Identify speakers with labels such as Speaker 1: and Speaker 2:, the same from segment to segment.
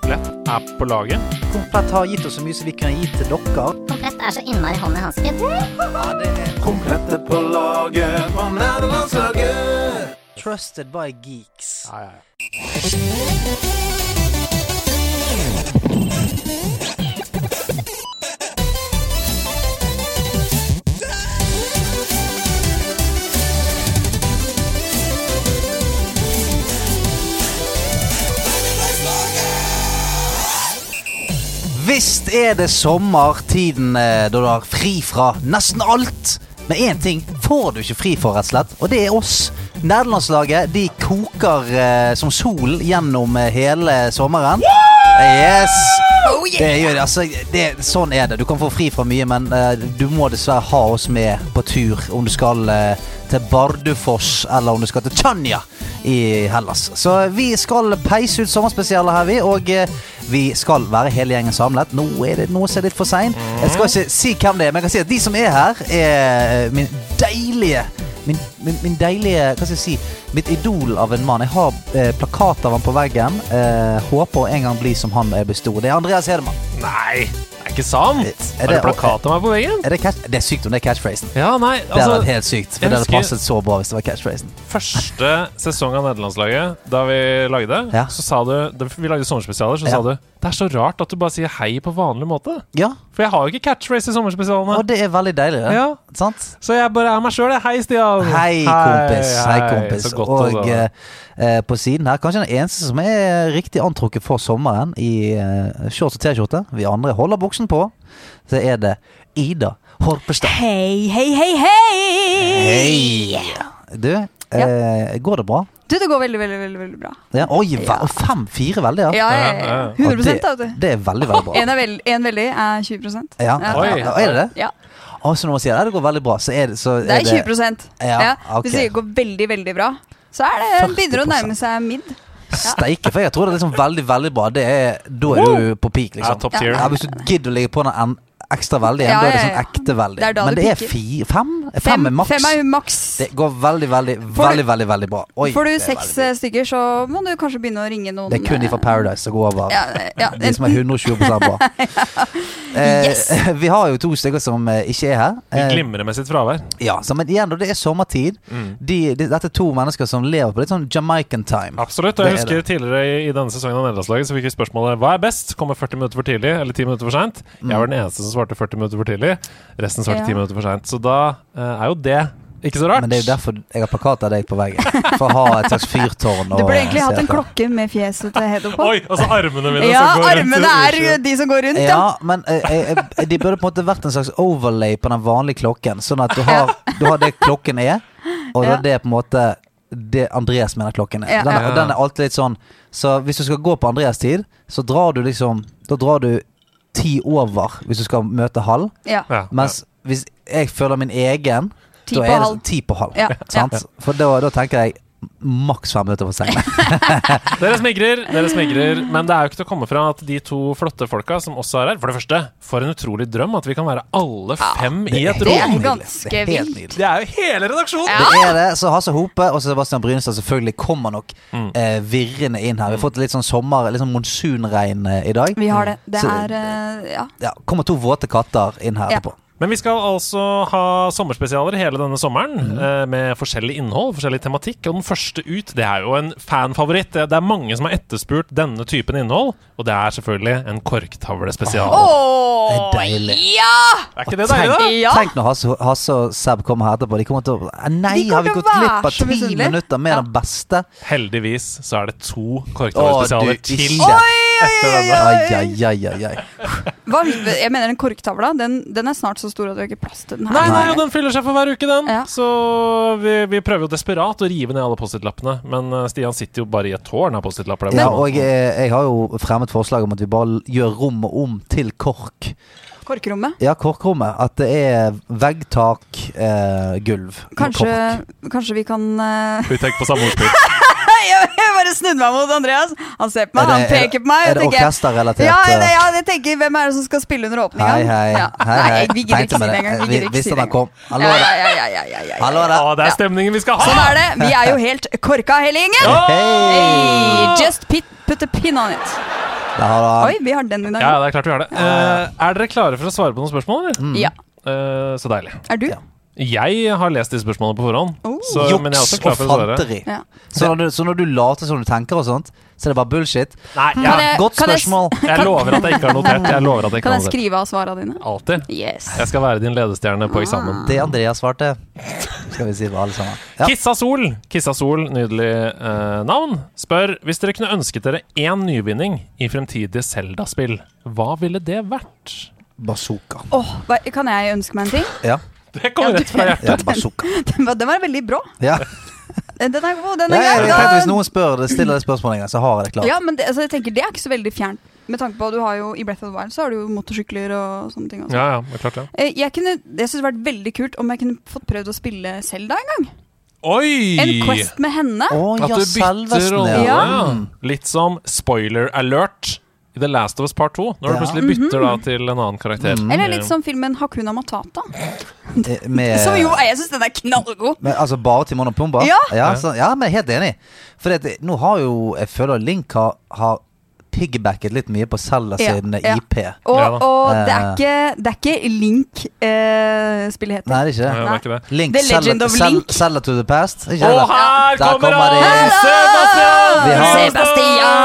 Speaker 1: Komplett er på laget.
Speaker 2: Komplett har gitt oss så mye som vi kan gi til dere.
Speaker 3: Komplett er så innmari hånd i hansken.
Speaker 4: Komplette på laget fra nederlandslaget.
Speaker 2: Trusted by geeks.
Speaker 1: Ja, ja, ja.
Speaker 2: Visst er det sommertiden eh, da du har fri fra nesten alt. Men én ting får du ikke fri for, rett og slett, og det er oss. Nederlandslaget de koker eh, som solen gjennom eh, hele sommeren. Yes! Det gjør det. Altså, det, sånn er det. Du kan få fri fra mye, men eh, du må dessverre ha oss med på tur om du skal eh, til Bardufoss eller om du skal til Chania i Hellas. Så vi skal peise ut sommerspesialer her, vi. Og eh, vi skal være hele gjengen samlet. Nå er det noe som er litt for seint. Jeg skal ikke si hvem det er, men jeg kan si at de som er her, er eh, min deilige Min, min, min deilige Hva skal jeg si? Mitt idol av en mann. Jeg har eh, plakat av han på veggen. Eh, håper å en gang bli som han da jeg blir stor. Det er Andreas Hedemann.
Speaker 1: Nei, det er ikke sant! Er
Speaker 2: Er
Speaker 1: det
Speaker 2: det-
Speaker 1: plakat av meg på veggen?
Speaker 2: Er det, catch det er sykt om det er catchphrasen.
Speaker 1: Ja, nei,
Speaker 2: Det hadde vært
Speaker 1: altså
Speaker 2: helt sykt,
Speaker 1: jeg
Speaker 2: for det hadde
Speaker 1: husker-
Speaker 2: passet så bra hvis det var catchphrasen.
Speaker 1: Første sesong av Nederlandslaget, da vi lagde det,
Speaker 2: Ja.
Speaker 1: så sa du da Vi lagde sommerspesialer, så
Speaker 2: Ja.
Speaker 1: sa du Det er så rart at du bare sier hei på vanlig måte.
Speaker 2: Ja,
Speaker 1: For jeg har jo ikke catchphrase i sommerspesialene.
Speaker 2: og det er veldig deilig, det.
Speaker 1: Ja.
Speaker 2: Sant?
Speaker 1: Så jeg bare er meg sjøl, jeg. Hei, Stian.
Speaker 2: Hei, kompis. Hei, kompis.
Speaker 1: Så godt altså. å
Speaker 2: Og
Speaker 1: se deg.
Speaker 2: eh, eh, på siden her, kanskje den eneste som er riktig antrukket for sommeren i eh, shorts og T-skjorte. Vi andre holder buksen på. Så er det Ida Horpestad.
Speaker 5: Hei, hei, hei, hei!
Speaker 2: Hei! Du, eh, går det bra?
Speaker 5: Du, det går veldig, veldig, veldig, veldig bra.
Speaker 2: Ja, oi, ve- fem-fire, veldig, ja.
Speaker 5: Ja,
Speaker 1: Ja,
Speaker 5: ja,
Speaker 1: ja,
Speaker 5: ja.
Speaker 1: ja.
Speaker 5: 100 da,
Speaker 2: Og
Speaker 5: vet du.
Speaker 2: det, det er veldig, veldig bra.
Speaker 5: En, er veld, en veldig er 20
Speaker 2: Ja,
Speaker 5: Ja.
Speaker 1: Oi.
Speaker 2: ja, er det det?
Speaker 5: Ja,
Speaker 2: Å, så når man sier at det går veldig bra, så er det så
Speaker 5: det er 20
Speaker 2: Ja,
Speaker 5: ja.
Speaker 2: ok.
Speaker 5: Hvis det går veldig, veldig bra, så er det, begynner det å
Speaker 2: 40%.
Speaker 5: nærme seg midd.
Speaker 2: Steike, for jeg tror det er liksom veldig, veldig bra. Det er, da er du på peak,
Speaker 1: Ja,
Speaker 2: liksom.
Speaker 1: top
Speaker 5: Ja.
Speaker 1: tier.
Speaker 2: Ja, hvis du gidder å ligge på den en ekstra veldig igjen,
Speaker 5: Ja,
Speaker 2: da er det
Speaker 5: ja,
Speaker 2: sånn
Speaker 5: ja.
Speaker 2: ekte veldig.
Speaker 5: Det er da
Speaker 2: Men
Speaker 5: det
Speaker 2: det er
Speaker 5: piker.
Speaker 2: fi, fem? Fem, er maks.
Speaker 5: Fem er maks.
Speaker 2: det går veldig, veldig,
Speaker 5: Får du-
Speaker 2: veldig veldig, veldig bra. Oi,
Speaker 5: Får du
Speaker 2: det er
Speaker 5: seks
Speaker 2: veldig-
Speaker 5: eh, stykker, så må du kanskje begynne å ringe noen eh,
Speaker 2: Det er kun de fra Paradise som går over.
Speaker 5: ja, eh, ja,
Speaker 2: De som er 120 bra.
Speaker 5: Yes.
Speaker 2: eh, vi har jo to stykker som eh, ikke er her.
Speaker 1: De
Speaker 2: Eh,
Speaker 1: glimrer med sitt fravær.
Speaker 2: ja, så, men igjen, da, det er sommertid.
Speaker 1: Mm.
Speaker 2: De, de, dette er to mennesker som lever på litt sånn Jamaican time.
Speaker 1: Absolutt. og Jeg
Speaker 2: Det er
Speaker 1: husker tidligere i, i denne sesongen av Nederlandslaget så fikk vi spørsmålet hva er best. Komme 40 minutter for tidlig eller 10 minutter for seint?
Speaker 2: Mm.
Speaker 1: Jeg var den eneste som svarte 40 minutter for tidlig. Resten svarte
Speaker 5: Ja.
Speaker 1: 10 minutter for seint. Så da eh, er jo det ikke så rart.
Speaker 2: Men det er jo derfor jeg har plakat av deg på veggen. For å ha et slags fyrtårn.
Speaker 5: Du
Speaker 2: å
Speaker 5: burde egentlig
Speaker 2: se
Speaker 5: hatt en
Speaker 2: på.
Speaker 5: klokke med fjeset til Hedo på.
Speaker 1: Oi, altså armene mine
Speaker 5: Ja,
Speaker 1: som går rundt i
Speaker 5: armene er
Speaker 1: utsiden.
Speaker 5: de som går rundt, ja.
Speaker 2: Ja, men eh, eh, eh, de burde på en måte vært en slags overlay på den vanlige klokken. Sånn at du har, du har det klokken er, og
Speaker 5: Ja.
Speaker 2: det er på en måte det Andreas mener klokken er.
Speaker 5: Ja,
Speaker 2: Den, er-
Speaker 1: ja.
Speaker 2: og den er alltid litt sånn Så hvis du skal gå på Andreas tid, så drar du liksom Da drar du ti over hvis du skal møte halv.
Speaker 5: ja.
Speaker 1: Ja,
Speaker 2: Mens hvis jeg føler min egen,
Speaker 5: Ti
Speaker 2: da
Speaker 5: på
Speaker 2: er det
Speaker 5: halv.
Speaker 2: sånn ti på halv.
Speaker 5: Ja,
Speaker 2: Sant? For da, da tenker jeg maks fem minutter for seint.
Speaker 1: ja. Dere smigrer, dere smigrer. Men det er jo ikke til å komme fra at de to flotte folka som også er her For det første, for en utrolig drøm at vi kan være alle fem i et
Speaker 5: det
Speaker 1: rom.
Speaker 5: er- ganske vilt.
Speaker 1: Det er jo hele redaksjonen!
Speaker 2: Det er det. Så Hasse Hope og Sebastian Brynestad selvfølgelig kommer nok eh, virrende inn her. Vi har fått litt sånn sommer, litt sånn monsunregn eh, i dag.
Speaker 5: Vi har det. Det
Speaker 2: Så-
Speaker 5: er eh, Ja.
Speaker 2: Ja, kommer to våte katter inn her
Speaker 5: Ja.
Speaker 2: etterpå.
Speaker 1: Men vi skal altså ha sommerspesialer hele denne sommeren,
Speaker 2: Mhm.
Speaker 1: eh, med forskjellig innhold, forskjellig tematikk. Og den første ut, det er jo en fanfavoritt. Det det er mange som har etterspurt denne typen innhold, og det er selvfølgelig en korktavlespesial.
Speaker 5: Åh,
Speaker 2: Det er deilig.
Speaker 5: Ja!
Speaker 1: Er ikke det deilig, da?
Speaker 2: Tenk,
Speaker 5: Ja.
Speaker 2: tenk når Hasse, Hasse og Seb kommer her etterpå. De kommer til å Eh, Nei,
Speaker 5: De kommer
Speaker 2: har vi
Speaker 5: til å
Speaker 2: gått glipp
Speaker 5: være
Speaker 2: av
Speaker 5: så
Speaker 2: ti
Speaker 5: misunnelige.
Speaker 2: minutter med
Speaker 5: Ja.
Speaker 2: den beste?
Speaker 1: Heldigvis så er det to
Speaker 2: Å,
Speaker 1: korktavlespesialer
Speaker 2: du,
Speaker 1: til
Speaker 2: ikke.
Speaker 1: etter denne.
Speaker 2: Ai, ai, ai, ai, ai.
Speaker 5: Hva, jeg mener den korktavla, den, den er snart så stor at du har ikke plass til den her.
Speaker 1: Nei, nei, og den fyller seg for hver uke, den.
Speaker 5: Ja.
Speaker 1: Så vi, vi prøver jo desperat å rive ned alle Post-It-lappene. Men eh, Stian sitter jo bare i et tårn av Post-It-lapper. der
Speaker 2: Ja,
Speaker 1: borte.
Speaker 2: og jeg, jeg har jo fremmet forslag om at vi bare gjør rommet om til KORK.
Speaker 5: Korkrommet.
Speaker 2: Ja, KORK-rommet. At det er veggtak, eh, gulv.
Speaker 5: Kanskje,
Speaker 2: kork.
Speaker 5: kanskje vi kan eh,
Speaker 1: Vi tenker sånn. på samme ordspill.
Speaker 5: Jeg bare snudde meg mot Andreas. Han ser på meg,
Speaker 2: Er
Speaker 5: han
Speaker 2: det-
Speaker 5: peker på meg.
Speaker 2: Er det
Speaker 5: jeg tenker-
Speaker 2: orkesterrelatert?
Speaker 5: Ja,
Speaker 2: eh,
Speaker 5: det, ja, jeg tenker hvem er det som skal spille under åpninga?
Speaker 2: Hei, hei.
Speaker 5: Ja.
Speaker 2: hei, hei.
Speaker 5: Nei, jeg- vi gidder
Speaker 2: Tenkte
Speaker 5: ikke si
Speaker 2: med
Speaker 5: det engang. Vi gidder ikke
Speaker 2: Visste
Speaker 5: si det
Speaker 2: den kom.
Speaker 5: engang.
Speaker 2: Hallo,
Speaker 5: Ja,
Speaker 2: det.
Speaker 5: ja, ja, ja, ja, ja, ja.
Speaker 2: Hallo, det.
Speaker 1: Å, det
Speaker 5: Ja.
Speaker 1: er stemningen vi skal ha!
Speaker 5: Sånn er det. Vi er jo helt korka, hele gjengen.
Speaker 1: Ja!
Speaker 5: Hey, just pit, put a pin on it.
Speaker 2: Da har da-
Speaker 5: Oi, vi har den i dag.
Speaker 1: Ja, det er klart vi har det. Eh, er dere klare for å svare på noen spørsmål, eller?
Speaker 5: Ja.
Speaker 1: Eh, så deilig.
Speaker 5: Er du?
Speaker 2: Ja.
Speaker 1: Jeg har lest de spørsmålene på forhånd.
Speaker 5: Oh.
Speaker 1: Så, men jeg er også
Speaker 2: Juks
Speaker 1: klar
Speaker 2: og
Speaker 1: for å svare.
Speaker 2: fanteri.
Speaker 5: Ja.
Speaker 2: Så når, du, så når du later som du tenker og sånt, så er det bare bullshit?
Speaker 1: Nei,
Speaker 5: Kan
Speaker 1: jeg,
Speaker 5: jeg-
Speaker 2: Godt
Speaker 5: kan jeg s-
Speaker 2: spørsmål.
Speaker 1: jeg lover at jeg ikke har notert. Jeg lover at jeg ikke
Speaker 5: Kan
Speaker 1: har
Speaker 5: jeg
Speaker 1: notert.
Speaker 5: skrive Ah. av svarene dine?
Speaker 1: Alltid.
Speaker 5: Yes.
Speaker 1: Jeg skal være din ledestjerne på eksamen.
Speaker 2: Det Andrea svarte, skal vi si for alle sammen. Ja.
Speaker 1: Kissa Sol, Kissa Sol, nydelig eh, navn, spør hvis dere kunne ønsket dere én nyvinning i fremtidige Selda-spill, hva ville det vært?
Speaker 2: Bazooka.
Speaker 5: Åh, hva- kan jeg ønske meg en ting?
Speaker 2: Ja.
Speaker 1: Det kommer rett fra hjertet.
Speaker 2: ja bazooka.
Speaker 5: Den var, den var veldig bra.
Speaker 2: Ja.
Speaker 5: Den er god. Den
Speaker 2: Ja,
Speaker 5: er
Speaker 2: jeg
Speaker 5: grei,
Speaker 2: tenkte
Speaker 5: da.
Speaker 2: Hvis noen spør, stiller det spørsmålet en gang, så har jeg det klart.
Speaker 5: Ja, men det, altså, jeg tenker, det er ikke så veldig fjernt. Med tanke på at du har jo, I Breath of the Wild så har du jo motorsykler og sånne ting. Også.
Speaker 1: Ja, ja, det er klart det.
Speaker 5: Eh, Jeg, kunne, jeg synes det hadde vært veldig kult om jeg kunne fått prøvd å spille Selda en gang. En
Speaker 1: Oi!
Speaker 5: Quest med henne.
Speaker 2: Å
Speaker 1: At
Speaker 2: ja,
Speaker 1: du bytter
Speaker 2: selveste.
Speaker 1: rolle.
Speaker 5: Ja.
Speaker 1: Ja. Litt som spoiler alert i The Last of Us Part 2, når
Speaker 2: Ja.
Speaker 1: du plutselig bytter da til en annen karakter.
Speaker 5: Eller litt som filmen Hakuna Matata.
Speaker 2: Eh, Med,
Speaker 5: Som jo, jeg syns den er knallgod.
Speaker 2: Men altså bare Timon og Pumba?
Speaker 5: Ja.
Speaker 2: ja, så, ja men jeg er helt enig. For det, nå har jo Jeg føler Link har, har piggybacket litt mye på Selda
Speaker 5: Ja,
Speaker 2: sin
Speaker 5: ja.
Speaker 2: IP.
Speaker 5: Og,
Speaker 1: Ja da.
Speaker 5: og det, er
Speaker 2: Eh.
Speaker 5: ikke, det er ikke Link eh, spillet heter.
Speaker 2: Nei, det er ikke
Speaker 1: Ja,
Speaker 2: det.
Speaker 1: det er ikke det.
Speaker 2: Link,
Speaker 5: The Legend
Speaker 2: Selda
Speaker 5: of
Speaker 2: Sel-
Speaker 5: Link.
Speaker 2: Selda to the past. Ikke
Speaker 1: Og
Speaker 2: det?
Speaker 1: her
Speaker 2: Der
Speaker 1: kommer
Speaker 2: kommer
Speaker 1: han!
Speaker 2: det- Vi
Speaker 1: Sebastian!
Speaker 2: har-
Speaker 5: Sebastian!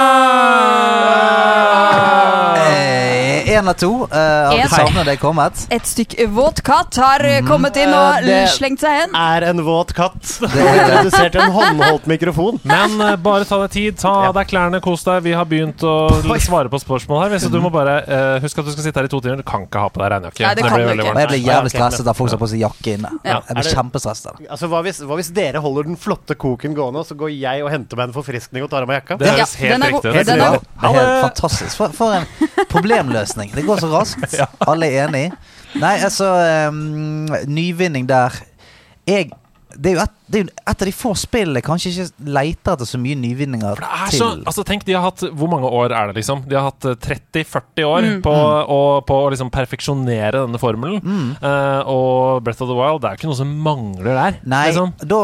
Speaker 2: Eh, En av to. eh, Har
Speaker 5: En.
Speaker 2: vi savnet deg kommet?
Speaker 5: Et stykke våt katt har eh, kommet inn og
Speaker 6: Eh, det-
Speaker 5: slengt seg hen.
Speaker 6: Er en våt katt.
Speaker 2: Det er det.
Speaker 6: Redusert til en håndholdt mikrofon.
Speaker 1: Men eh, bare ta deg tid, ta av deg klærne, kos deg. Vi har begynt å
Speaker 6: Oi.
Speaker 1: svare på spørsmål her. Så du må bare eh, huske at du skal sitte her i to timer. Du kan ikke ha på deg regnjakke.
Speaker 5: Nei, det kan
Speaker 1: blir
Speaker 5: du
Speaker 1: veldig
Speaker 5: ikke.
Speaker 1: varmt.
Speaker 2: Og jeg ble
Speaker 6: Ja, ok,
Speaker 2: jævlig stresset da folk som har på seg jakke inne.
Speaker 6: Ja.
Speaker 2: Jeg ble
Speaker 6: Er det-
Speaker 2: kjempestresset. av det.
Speaker 6: Altså, hva hvis, hva hvis dere holder den flotte koken gående, og så går jeg og henter meg en forfriskning og tar av meg jakka?
Speaker 1: Det
Speaker 5: Ja,
Speaker 1: høres
Speaker 5: den
Speaker 1: helt
Speaker 5: er god.
Speaker 1: riktig ut.
Speaker 5: Helt Den er
Speaker 2: Wow,
Speaker 5: god.
Speaker 1: Helt
Speaker 2: det er helt fantastisk. For, for en problemløsning. Det går så raskt. Alle er enig. Nei, altså um, Nyvinning der. Jeg det er, jo et, det er jo et av de få spillene jeg kanskje ikke leter etter så mye nyvinninger
Speaker 1: Det er
Speaker 2: til.
Speaker 1: så, altså tenk, de har hatt, Hvor mange år er det, liksom? De har hatt eh, 30-40 år på,
Speaker 2: Mm.
Speaker 1: å- på å liksom perfeksjonere denne formelen. Eh, og Breath of the Wild det er jo ikke noe som mangler der.
Speaker 2: Nei,
Speaker 1: liksom.
Speaker 2: da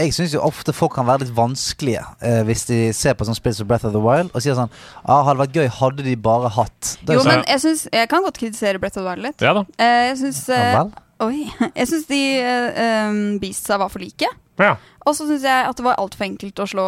Speaker 2: Jeg syns jo ofte folk kan være litt vanskelige eh, hvis de ser på sånn spill som Breath of the Wild og sier sånn ah, 'Hadde vært gøy hadde de bare hatt'. Da er sånn,
Speaker 5: Jo,
Speaker 2: det
Speaker 5: men jeg, synes, jeg kan godt kritisere Brett og Wild litt.
Speaker 1: Ja da.
Speaker 5: Eh, Jeg syns
Speaker 2: sånn,
Speaker 5: eh,
Speaker 2: ja, vel?
Speaker 5: Oi. Jeg syns de eh, um, beastsa var for like.
Speaker 1: Ja.
Speaker 5: Og så syns jeg at det var altfor enkelt å slå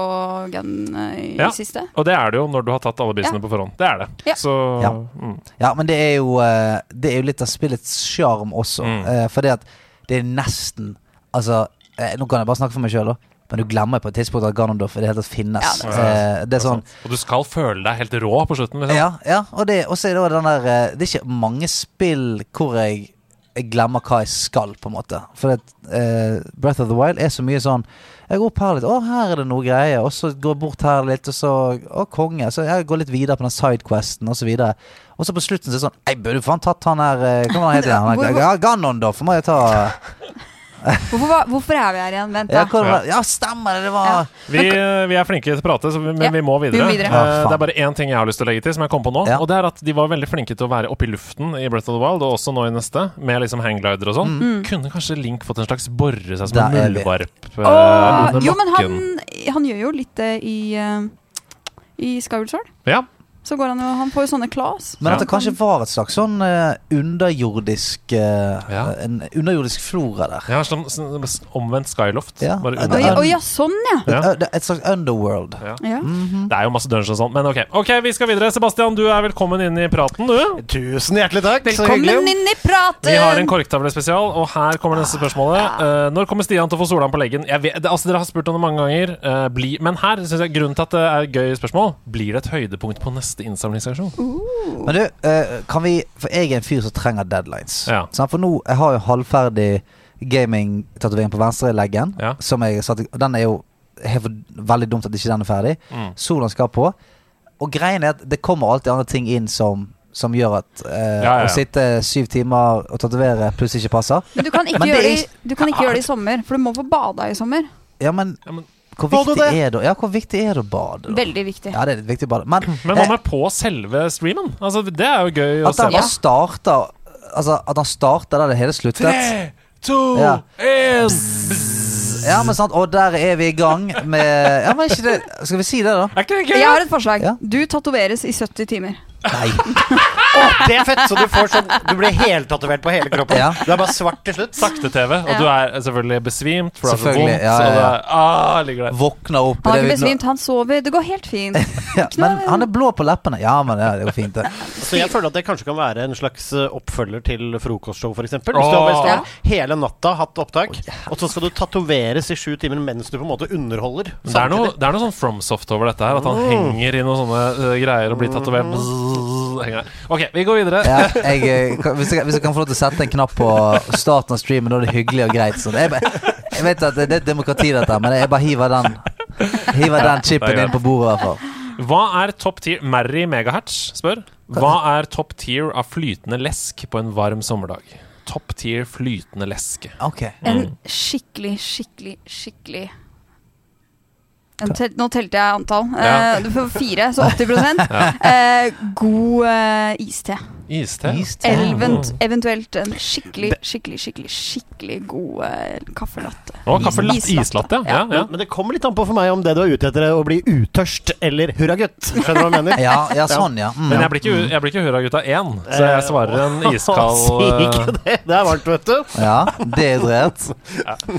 Speaker 5: gun eh, i
Speaker 1: Ja.
Speaker 5: siste.
Speaker 1: Og det er det jo når du har tatt alle bisene på forhånd. Det er det.
Speaker 5: Ja.
Speaker 1: Så
Speaker 2: Ja.
Speaker 1: mm.
Speaker 2: Ja, men det er jo, eh, det er jo litt av spillets sjarm også.
Speaker 1: Mm.
Speaker 2: eh, Fordi at det er nesten Altså, eh, nå kan jeg bare snakke for meg sjøl, da. Men du glemmer på et tidspunkt at Ganondorf i det hele tatt finnes.
Speaker 5: Ja, det
Speaker 1: er sant.
Speaker 2: Eh, det er sånn
Speaker 1: altså. Og du skal føle deg helt rå på slutten. Liksom.
Speaker 2: Ja, ja og det, og så er det også den der eh, Det er ikke mange spill hvor jeg, jeg glemmer hva jeg skal, på en måte. For at, eh, Breath of the Wild er så mye sånn Jeg går opp her litt, å, her er det noe greie. Og så går jeg bort her litt, og så Å, konge. Så jeg går litt videre på den sidequesten, og så videre. Og så på slutten så er det sånn Jeg burde faen tatt han her eh, Hva var han het igjen? Han
Speaker 5: Hvor-
Speaker 2: der,
Speaker 5: hvor-
Speaker 2: Ja, Ganon, da. For må jeg ta
Speaker 5: Hvorfor, var- hvorfor er vi her igjen? Vent,
Speaker 2: Ja,
Speaker 5: da.
Speaker 2: hva var det? ja stemmer det. Det var
Speaker 5: Ja.
Speaker 1: Vi, vi er flinke til å prate, så vi, men
Speaker 5: Ja,
Speaker 1: vi må videre.
Speaker 5: vi må videre.
Speaker 1: Eh,
Speaker 2: Ja, faen.
Speaker 1: det er bare én ting jeg har lyst til å legge til, som jeg kom på nå.
Speaker 2: Ja.
Speaker 1: Og det er at de var veldig flinke til å være oppe i luften i Breath of the Wild, og også nå i neste, med liksom hangglider og sånn.
Speaker 5: Mm.
Speaker 1: Kunne kanskje Link fått en slags borre seg som en
Speaker 2: Der Mm. er vi.
Speaker 1: muldvarp eh,
Speaker 5: Åh,
Speaker 1: under
Speaker 5: jo, men han,
Speaker 1: bakken.
Speaker 5: han gjør jo litt det i, eh, i Skyward Sword.
Speaker 1: Ja.
Speaker 5: Så går han jo Han får jo sånne claws.
Speaker 2: Men
Speaker 1: Ja.
Speaker 2: at det kanskje var et slags sånn eh, underjordisk eh,
Speaker 1: Ja.
Speaker 2: En underjordisk flora der.
Speaker 1: ja sånn, sånn, sånn omvendt Skyloft.
Speaker 2: Ja.
Speaker 1: Bare
Speaker 2: Ja,
Speaker 1: under.
Speaker 5: Oi,
Speaker 2: det er-
Speaker 5: oi, ja, sånn, ja.
Speaker 1: Ja.
Speaker 2: Et, ø- et slags underworld.
Speaker 5: ja.
Speaker 1: Det er jo masse dungeons og sånn, men ok. Ok, Vi skal videre. Sebastian, du er velkommen inn i praten, du.
Speaker 6: Tusen hjertelig takk. så
Speaker 5: Velkommen
Speaker 6: hyggelig.
Speaker 5: inn i praten!
Speaker 1: Vi har en korktavlespesial, og her kommer neste
Speaker 5: Ah,
Speaker 1: spørsmålet. Eh, når kommer Stian til å få Solan på leggen? Jeg vet, det- altså, dere har spurt om det mange ganger, eh, bli, men her synes jeg grunnen til at det er et gøy spørsmål. Blir det et høydepunkt på neste innsamlingsaksjon?
Speaker 2: Men du, ø, kan vi For jeg er en fyr som trenger deadlines.
Speaker 1: Ja.
Speaker 2: Sant? For nå jeg har jeg halvferdig gaming-tatovering på venstre leggen.
Speaker 1: Ja.
Speaker 2: Som jeg satte, og den er jo helt, for- veldig dumt at ikke den er ferdig.
Speaker 1: Mm.
Speaker 2: Solen skal på. Og greien er at det kommer alltid andre ting inn som som gjør at ø,
Speaker 1: Ja, ja, ja.
Speaker 2: å sitte syv timer og tatovere plutselig ikke passer.
Speaker 5: Men du kan ikke,
Speaker 2: Men det
Speaker 5: gjøre
Speaker 2: er
Speaker 5: det, i- du kan ikke gjøre det i sommer, for du må få bada i sommer.
Speaker 2: Ja, men,
Speaker 1: Ja, men-
Speaker 2: hvor
Speaker 6: Bader
Speaker 2: viktig
Speaker 6: det?
Speaker 2: er det, ja, hvor viktig er det å bade? da?
Speaker 5: Veldig viktig.
Speaker 2: Ja, det er litt viktig å bade. Men,
Speaker 1: Men hva med på selve streamen? Altså, det er jo gøy å
Speaker 2: At
Speaker 1: se
Speaker 2: han
Speaker 1: på.
Speaker 2: bare starter Altså at han starter der det hele sluttet
Speaker 1: Tre, to,
Speaker 2: Ja.
Speaker 1: én
Speaker 2: Ja, men sant, Og der er vi i gang med Ja, men ikke det Skal vi si det, da?
Speaker 1: Er ikke det
Speaker 5: Jeg har et forslag.
Speaker 2: Ja.
Speaker 5: Du tatoveres i 70 timer.
Speaker 2: Nei.
Speaker 6: Det er fett! Så du, får sånn, du blir heltatovert på hele kroppen.
Speaker 2: Ja.
Speaker 6: Du er bare svart til slutt.
Speaker 1: Sakte-TV, og
Speaker 5: Ja.
Speaker 1: du er selvfølgelig besvimt, for det er så
Speaker 2: Selvfølgelig,
Speaker 1: vondt.
Speaker 2: ja,
Speaker 1: Så
Speaker 2: ja,
Speaker 1: det
Speaker 2: ja.
Speaker 1: er, ah, ligger der.
Speaker 2: Våkner opp
Speaker 5: Han
Speaker 2: i
Speaker 5: er ikke
Speaker 2: det vi-
Speaker 5: besvimt, han sover. Det går helt fint.
Speaker 2: Ja, men han er blå på leppene. Ja, men ja, det går fint, det.
Speaker 6: Så jeg føler at det kanskje kan være en slags eh, oppfølger til frokostshow, f.eks. Hvis du har bare
Speaker 5: Ja.
Speaker 6: stått hele natta, hatt opptak, og så skal du tatoveres i sju timer mens du på en måte underholder.
Speaker 1: Men Det er, noe,
Speaker 6: samtidig.
Speaker 1: det er noe sånn FromSoft over dette her. At han henger i noen sånne eh, greier og blir tatovert. Bzzz, henger der. Ok, vi går videre.
Speaker 2: Ja, jeg, eh, kan- hvis, jeg, kan- hvis jeg kan få lov til å sette en knapp på starten av streamen, da er det hyggelig og greit. Sånn. Jeg, bare- jeg vet at det det er et demokrati, dette, men jeg bare hiver den Hiver den
Speaker 1: det
Speaker 2: chipen
Speaker 1: er
Speaker 2: inn på bordet, i hvert fall.
Speaker 1: Hva er topp tier Mary Megahertz spør. Hva er topp tier av flytende lesk på en varm sommerdag? Topp tier flytende leske.
Speaker 2: Ok.
Speaker 5: En skikkelig, skikkelig, skikkelig en tel Nå telte jeg antall.
Speaker 1: Ja.
Speaker 5: Eh, du får fire, så 80 eh, God eh, iste.
Speaker 1: Iste. Mm.
Speaker 2: Iste. Mm.
Speaker 5: Elvent, eventuelt en skikkelig, skikkelig, skikkelig skikkelig god eh, kaffelatte.
Speaker 1: Å, kaffe latt, islatte, ja. ja, ja.
Speaker 6: Men det kommer litt an på for meg om det du er ute etter, er å bli utørst eller hurragutt. Skjønner du hva jeg mener?
Speaker 2: Ja, ja, sånn, ja. Mm.
Speaker 1: Men jeg blir ikke, u- jeg blir ikke Hurragutta 1, så jeg svarer en iskald
Speaker 6: Si
Speaker 1: eh,
Speaker 6: ikke det. Det er varmt, vet du.
Speaker 2: Ja, Dehydrert.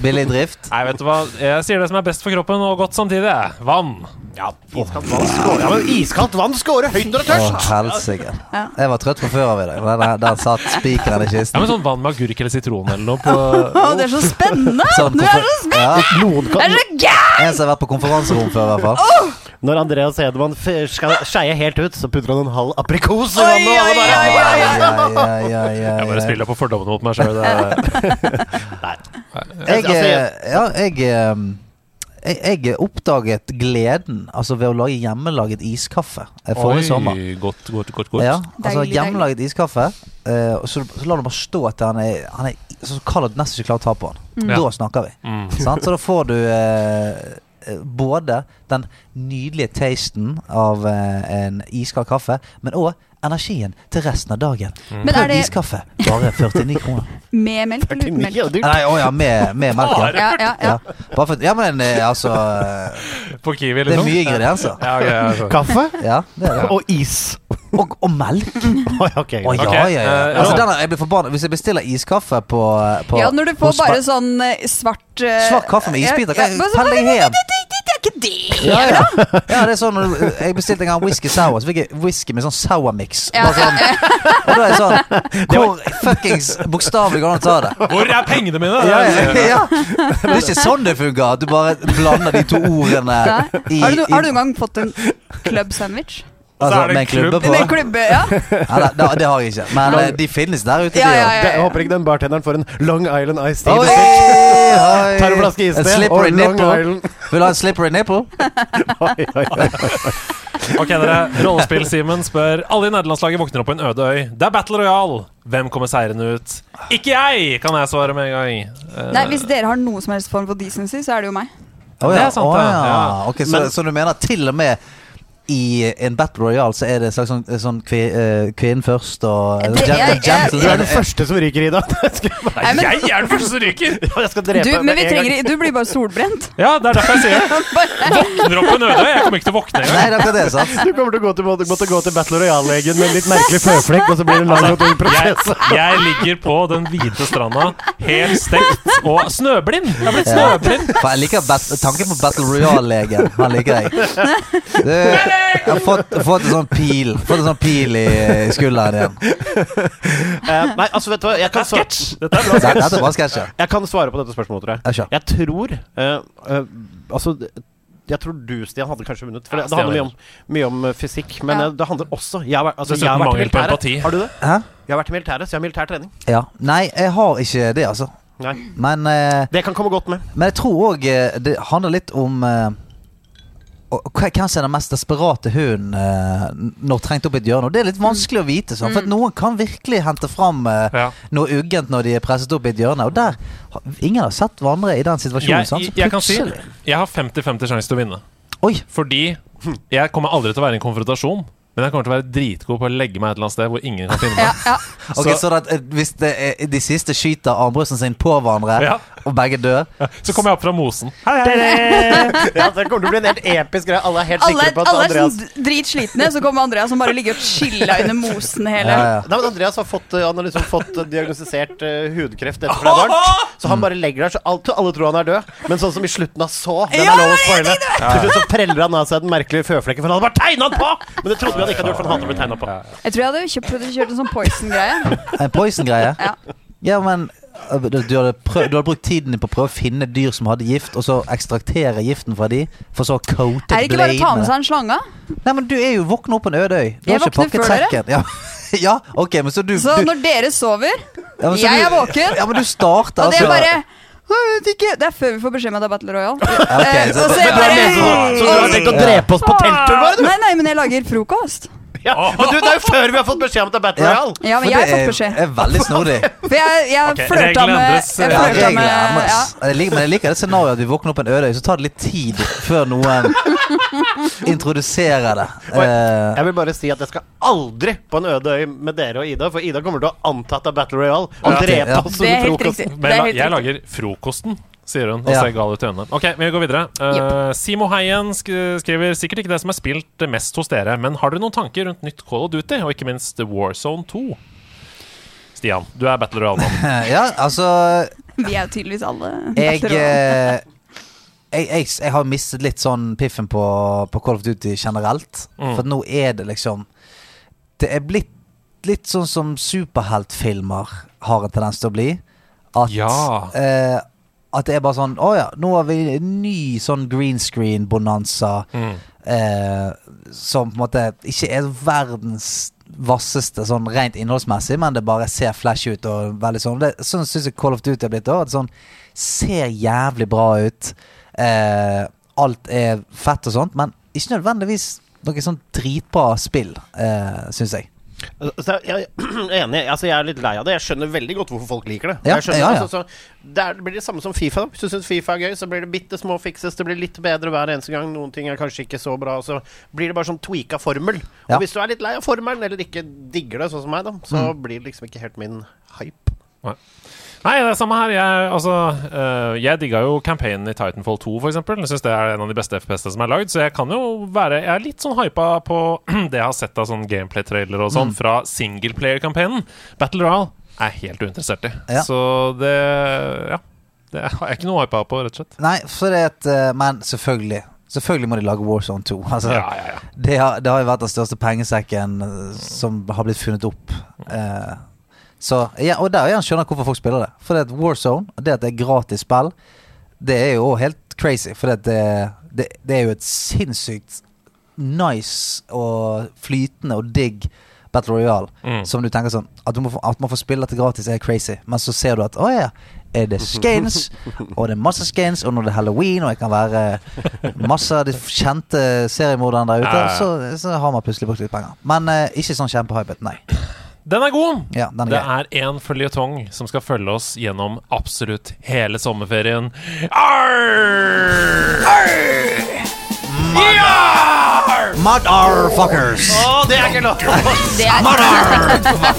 Speaker 2: Billig drift.
Speaker 1: Nei, vet du hva. Jeg sier det som er best for kroppen og godt samtidig. jeg. Vann.
Speaker 6: Ja, iskaldt vann scorer. Ja, men iskaldt vann scorer høyt når du er
Speaker 2: Å,
Speaker 6: tørst.
Speaker 2: helsike.
Speaker 5: Ja.
Speaker 2: Jeg var trøtt fra før av i dag. men Der, der satt spikeren i
Speaker 1: Ja,
Speaker 2: kisten.
Speaker 1: men sånn vann med agurk eller sitron eller noe på
Speaker 5: Å, det er så spennende!
Speaker 2: Sånn,
Speaker 5: Du er så
Speaker 2: konfer- ja,
Speaker 6: Noen
Speaker 5: Det er
Speaker 6: kan,
Speaker 5: så gæren!
Speaker 2: en som har vært på konferanserom før, i hvert fall.
Speaker 6: når Andreas Hedemann f- skal skeie helt ut, så putter han en halv aprikos i
Speaker 5: Oi,
Speaker 6: vannet. og alle bare-
Speaker 5: oi, oi, oi.
Speaker 2: Ja, ja, ja, ja,
Speaker 1: Jeg bare
Speaker 2: ja.
Speaker 1: spiller på fordommene mot meg sjøl.
Speaker 2: Jeg,
Speaker 6: Altså, jeg-
Speaker 2: eh, ja, jeg, eh, jeg, jeg oppdaget gleden altså ved å lage hjemmelaget iskaffe eh, forrige sommer.
Speaker 1: Godt, godt, godt. godt.
Speaker 2: Ja, altså
Speaker 5: Deilig,
Speaker 2: Hjemmelaget iskaffe. eh, og så, så lar du bare stå til han er, han er i- så kald at du nesten ikke klarer å ta på han. Da
Speaker 1: Ja.
Speaker 2: snakker vi.
Speaker 1: Mm.
Speaker 2: Sant? Så da får du eh, eh, både den nydelige tasten av eh, en iskald kaffe, men òg energien til resten av dagen.
Speaker 5: Men er
Speaker 2: Prøv
Speaker 5: det
Speaker 2: iskaffe. Bare 49 kroner.
Speaker 5: med melk eller uten
Speaker 6: 49,
Speaker 5: melk?
Speaker 6: ja, du-
Speaker 2: Nei, å ja, med, med melk. ja.
Speaker 5: Ja, ja, ja.
Speaker 2: Ja. Bare for, ja, men eh, altså eh,
Speaker 1: På Kiwi,
Speaker 2: Det er
Speaker 1: liksom.
Speaker 2: mye ingredienser.
Speaker 1: Ja, ok, ja, altså. ok.
Speaker 6: Kaffe
Speaker 2: Ja, det er det.
Speaker 6: og is.
Speaker 2: Og, og melk.
Speaker 6: Oi, ok,
Speaker 2: Å
Speaker 6: greit.
Speaker 2: ja, ja, ja.
Speaker 1: eh,
Speaker 2: Altså,
Speaker 1: ja.
Speaker 2: den er- jeg blir forbanna hvis jeg bestiller iskaffe på, eh, på
Speaker 5: Ja, når du får
Speaker 2: hos-
Speaker 5: bare sånn eh, svart eh,
Speaker 2: Svart kaffe med isbiter.
Speaker 5: ja,
Speaker 2: Kan
Speaker 5: ja,
Speaker 2: jeg
Speaker 5: men så-
Speaker 2: pelle deg hjem?
Speaker 5: Det det- det er ikke det!
Speaker 2: ja, ja. ja, det er sånn når du- Jeg bestilte en gang whisky sour, så fikk jeg whisky med sånn sour mix.
Speaker 5: Ja,
Speaker 2: Bare sånn, og da er jeg sånn Hvor fuckings bokstavelig går det an å ta det?
Speaker 1: Hvor er pengene mine?
Speaker 2: Ja, ja, ja. Det er ikke sånn det fungerer. At du bare blander de to ordene
Speaker 5: Nei.
Speaker 2: i,
Speaker 5: Har du,
Speaker 2: i
Speaker 5: har du noen gang fått en club sandwich?
Speaker 2: altså,
Speaker 1: Så er det
Speaker 2: med en klubbe
Speaker 1: klubb.
Speaker 2: på?
Speaker 5: Med en klubbe, ja.
Speaker 2: Nei, nei, det, det har jeg ikke. Men eh, de finnes der ute, de.
Speaker 5: Ja,
Speaker 2: da.
Speaker 5: ja,
Speaker 6: Det- Jeg håper ikke den bartenderen får en Long Island Ice Tea.
Speaker 2: Oi,
Speaker 6: bestilt.
Speaker 2: oi.
Speaker 6: Tar en flaske is
Speaker 2: En
Speaker 6: til,
Speaker 2: slippery
Speaker 6: og Long
Speaker 2: nipple.
Speaker 6: Island.
Speaker 2: Vil du ha en slippery nipple?
Speaker 6: Oi, oi, oi.
Speaker 1: Eh, Ok, dere. Rollespill-Simen spør Alle i nederlandslaget våkner opp på en øde øy. Det er Battle Royale. Hvem kommer seirende ut? Ikke jeg, kan jeg svare med en gang. Eh,
Speaker 5: Nei, Hvis dere har noe som helst form for decency, så er det jo meg.
Speaker 2: Å
Speaker 1: Det
Speaker 2: ja.
Speaker 1: er sant,
Speaker 2: å
Speaker 1: det.
Speaker 2: ja.
Speaker 1: Ja.
Speaker 2: Ok, så,
Speaker 6: Men-
Speaker 2: så du mener til og med i en battle royale så er det en slags sånn, sånn kvi, eh, kvinnen først og
Speaker 5: Det-
Speaker 2: gen-
Speaker 5: jeg- jeg-
Speaker 6: Du er
Speaker 2: gentleman.
Speaker 6: den første som ryker, Ida. Jeg skulle bare-
Speaker 1: Nei,
Speaker 5: men-
Speaker 1: jeg er den første som ryker!
Speaker 6: Jeg skal drepe
Speaker 5: Du,
Speaker 6: deg
Speaker 5: men
Speaker 6: med
Speaker 5: vi
Speaker 6: en gang.
Speaker 5: trenger, du blir bare solbrent.
Speaker 1: Ja, det er derfor jeg sier det. Våkner opp på en øde øy. Jeg kommer ikke til å våkne engang.
Speaker 2: Nei, det er akkurat det, sant?
Speaker 6: Du kommer til å gå til, måtte, måtte gå til Battle Royale-legen med en litt merkelig føflekk, og så blir det en lang og tung prosess.
Speaker 1: Jeg, jeg ligger på den hvite stranda, helt stekt og snøblind. Jeg har blitt
Speaker 2: Ja.
Speaker 1: snøblind.
Speaker 2: For jeg liker bat tanken på battle royale-legen. Han liker jeg. Du, jeg har fått, fått en sånn pil Fått en sånn pil i skulderen igjen.
Speaker 6: Eh, nei, altså, vet du hva, jeg kan, svare,
Speaker 1: Sketsj! Dette er bra.
Speaker 2: Det- Dette var sketsjer.
Speaker 6: jeg kan svare på dette spørsmålet, tror jeg.
Speaker 2: Ja, kjør.
Speaker 6: Jeg tror eh, eh, Altså, det- jeg tror du, Stian, hadde kanskje vunnet. For det, det
Speaker 1: Ja,
Speaker 6: handler mye om, mye om eh, fysikk. Men
Speaker 5: Ja.
Speaker 6: eh, det handler også jeg har, vært- altså,
Speaker 1: Dessuten
Speaker 6: jeg har vært i
Speaker 1: mangel på empati.
Speaker 6: militæret. Har du det?
Speaker 2: Hæ?
Speaker 6: Jeg har vært i militæret, så jeg har militær trening.
Speaker 2: Ja. Nei, jeg har ikke det, altså.
Speaker 6: Nei.
Speaker 2: Men eh,
Speaker 6: Det kan komme godt med.
Speaker 2: Men jeg tror òg det handler litt om eh, og hva- hvem som er den mest desperate hunden eh, n- når trengt opp i et hjørne. Og det er litt vanskelig å vite, sånn, for at noen kan virkelig hente fram eh,
Speaker 1: Ja.
Speaker 2: noe uggent når de er presset opp i et hjørne. Og der har- Ingen har sett hverandre i den situasjonen.
Speaker 1: Jeg,
Speaker 2: sant?
Speaker 1: jeg,
Speaker 2: Så
Speaker 1: jeg kan si
Speaker 2: plutselig-
Speaker 1: jeg har 50-50 sjanse til å vinne.
Speaker 2: Oi!
Speaker 1: Fordi jeg kommer aldri til å være i en konfrontasjon. Men jeg kommer til å være dritgod på å legge meg et eller annet sted hvor ingen kan finne meg.
Speaker 5: Ja, ja.
Speaker 2: Ok,
Speaker 1: Så-
Speaker 2: så, da, eh, Hvis det er, de siste skyter armbrusten sin på hverandre,
Speaker 1: Ja.
Speaker 2: og begge dør
Speaker 1: Så kommer jeg opp fra mosen. Hei, hei.
Speaker 6: Ja, det kommer til å bli en helt episk greie. Alle er helt
Speaker 5: Alle,
Speaker 6: sikre på at
Speaker 5: alle er
Speaker 6: Andreas
Speaker 5: sånn dritslitne, så kommer Andreas som bare ligger og chiller under mosen hele
Speaker 2: Ja, ja.
Speaker 6: Nei, men Andreas har fått, eh, han har liksom fått eh, diagnostisert eh, hudkreft etter flere dager. Så han bare legger der, så alt, alle tror han er død. Men sånn som i slutten av så, den
Speaker 5: Ja,
Speaker 6: er lov å spoile. Til slutt så preller han av seg den merkelige føflekken, for han hadde bare tegna den på! Men det trodde vi han ikke hadde gjort, for han hadde blitt tegna på.
Speaker 5: Jeg tror jeg hadde kjøpt, kjørt en sånn Poison-greie.
Speaker 2: En poison-greie.
Speaker 5: Ja.
Speaker 2: Ja, men eh, du, du, hadde prøv, du hadde brukt tiden din på å prøve å finne dyr som hadde gift, og så ekstraktere giften fra de, for så å coate
Speaker 5: Er det ikke bare å ta med
Speaker 2: bladene.
Speaker 5: seg en slange?
Speaker 2: Nei, men du er jo våkna opp på en øde øy. Du
Speaker 5: Jeg
Speaker 2: har ikke
Speaker 5: våkner
Speaker 2: pakket
Speaker 5: før dere.
Speaker 2: sekken. Ja. ja, ok, men så du,
Speaker 5: Så
Speaker 2: du
Speaker 5: når dere sover,
Speaker 2: ja, men så
Speaker 5: jeg
Speaker 2: du-
Speaker 5: er våken.
Speaker 2: Ja, men du starter
Speaker 5: og det
Speaker 2: altså
Speaker 5: er bare «Å, jeg vet ikke. Det er før vi får beskjed om at det er Battle Royale.
Speaker 2: ok,
Speaker 5: Eh,
Speaker 2: så-
Speaker 5: og så
Speaker 2: men du
Speaker 5: jeg
Speaker 2: er
Speaker 5: bare
Speaker 2: med
Speaker 1: sånn,
Speaker 2: på-
Speaker 6: Så du har tenkt å drepe oss på teltturen vår, du?
Speaker 5: Nei, nei, men jeg lager frokost.
Speaker 6: Ja. Men du, det er jo før vi har fått beskjed om at det er Battle
Speaker 2: Ja.
Speaker 6: Royale!
Speaker 5: Ja, men
Speaker 2: For
Speaker 5: jeg har
Speaker 2: det
Speaker 5: fått
Speaker 2: er-
Speaker 5: beskjed.
Speaker 2: er veldig snodig.
Speaker 5: For jeg, jeg
Speaker 1: Ok,
Speaker 5: flørta
Speaker 1: reglene
Speaker 5: med
Speaker 1: endres,
Speaker 5: Jeg
Speaker 1: ja.
Speaker 2: Ja,
Speaker 5: flørta
Speaker 2: regler,
Speaker 5: med ja.
Speaker 2: endres. Jeg liker, men jeg liker det scenarioet at vi våkner opp på en øde øy, så tar det litt tid før noen introduserer det. Eh,
Speaker 6: Jeg vil bare si at jeg skal aldri på en øde øy med dere og Ida, for Ida kommer til å anta at det er Battle Royale og
Speaker 2: Alltid,
Speaker 6: drepe
Speaker 2: ja.
Speaker 6: oss
Speaker 5: Det er
Speaker 6: under
Speaker 5: helt
Speaker 6: frokosten.
Speaker 5: riktig.
Speaker 1: Men
Speaker 5: Det
Speaker 1: jeg,
Speaker 5: er
Speaker 1: la-
Speaker 5: helt
Speaker 1: jeg
Speaker 5: riktig.
Speaker 1: lager frokosten, sier hun og
Speaker 2: Ja.
Speaker 1: ser gal ut i øynene. Ok, vi går videre. Eh, Simo Heien sk skriver sikkert ikke det som er spilt mest hos dere, men har dere noen tanker rundt nytt Call of Duty, og ikke minst Warzone 2? Stian, du er Battle Royale-mann.
Speaker 2: ja, altså
Speaker 5: Vi er jo tydeligvis alle
Speaker 2: jeg,
Speaker 5: Battle Royale.
Speaker 2: eh, jeg, jeg, jeg har mistet litt sånn piffen på, på Call of Duty generelt.
Speaker 1: Mm.
Speaker 2: For nå er det liksom Det er blitt litt sånn som superheltfilmer har en tendens til å bli. At,
Speaker 1: Ja.
Speaker 2: eh, at det er bare sånn Å ja, nå har vi en ny sånn green screen-bonanza
Speaker 1: Mm.
Speaker 2: eh, som på en måte ikke er verdens vasseste sånn rent innholdsmessig, men det bare ser flash ut og veldig sånn. Det, sånn syns jeg Call of Duty har blitt òg. Sånn, ser jævlig bra ut. Eh, alt er fett og sånt, men ikke nødvendigvis noe sånn dritbra spill, eh, syns jeg.
Speaker 6: Altså, Så jeg, jeg er enig. Altså, jeg er litt lei av det. Jeg skjønner veldig godt hvorfor folk liker det.
Speaker 2: Ja,
Speaker 6: jeg skjønner,
Speaker 2: ja, ja.
Speaker 6: Altså, så, det er, det blir det samme som Fifa. da. Hvis du syns Fifa er gøy, så blir det bitte små fikses. Det blir litt bedre hver eneste gang. Noen ting er kanskje ikke så bra. og Så blir det bare sånn tweaka formel.
Speaker 2: Ja. Mm.
Speaker 6: Og hvis du er litt lei av formelen, eller ikke digger det, sånn som meg, da, så blir det liksom ikke helt min hype.
Speaker 1: Nei, det er samme her. Jeg, altså, eh, jeg digga jo campaignen i Titanfall 2, for eksempel. Jeg syns det er en av de beste FPS-ene som er lagd, så jeg kan jo være Jeg er litt sånn hypa på det jeg har sett av sånn gameplay-trailer og sånn fra singleplayer-campaignen. Battle Royale er jeg helt uinteressert i.
Speaker 2: Ja.
Speaker 1: Så det Ja. Det har jeg ikke noe hypa på, rett og slett.
Speaker 2: Nei, for det at, eh, men selvfølgelig. Selvfølgelig må de lage Warzone 2. Altså,
Speaker 1: Ja, ja, ja.
Speaker 2: det, har, det har jo vært den største pengesekken eh, som har blitt funnet opp. Eh, så, ja, og der igjen skjønner jeg hvorfor folk spiller det. For det at Warzone, det at det er gratis spill, det er jo helt crazy. For det, at det, det, det er jo et sinnssykt nice og flytende og digg Battle Royale.
Speaker 1: Mm.
Speaker 2: Som du tenker sånn At, du må få, at man får spille dette gratis, er crazy. Men så ser du at å ja, er det skins, og det er masse skins, og når det er halloween, og jeg kan være masse av de kjente seriemorderne der ute,
Speaker 1: Ja, ja.
Speaker 2: så, så har man plutselig brukt litt penger. Men eh, ikke sånn kjempehypet, nei.
Speaker 1: Den er god!
Speaker 2: Ja, den er
Speaker 1: Det
Speaker 2: grei.
Speaker 1: er én føljetong som skal følge oss gjennom absolutt hele sommerferien. Arr! Arr!
Speaker 2: Motherfuckers!
Speaker 6: Å, det er ikke lov!
Speaker 5: Det er
Speaker 1: Ja,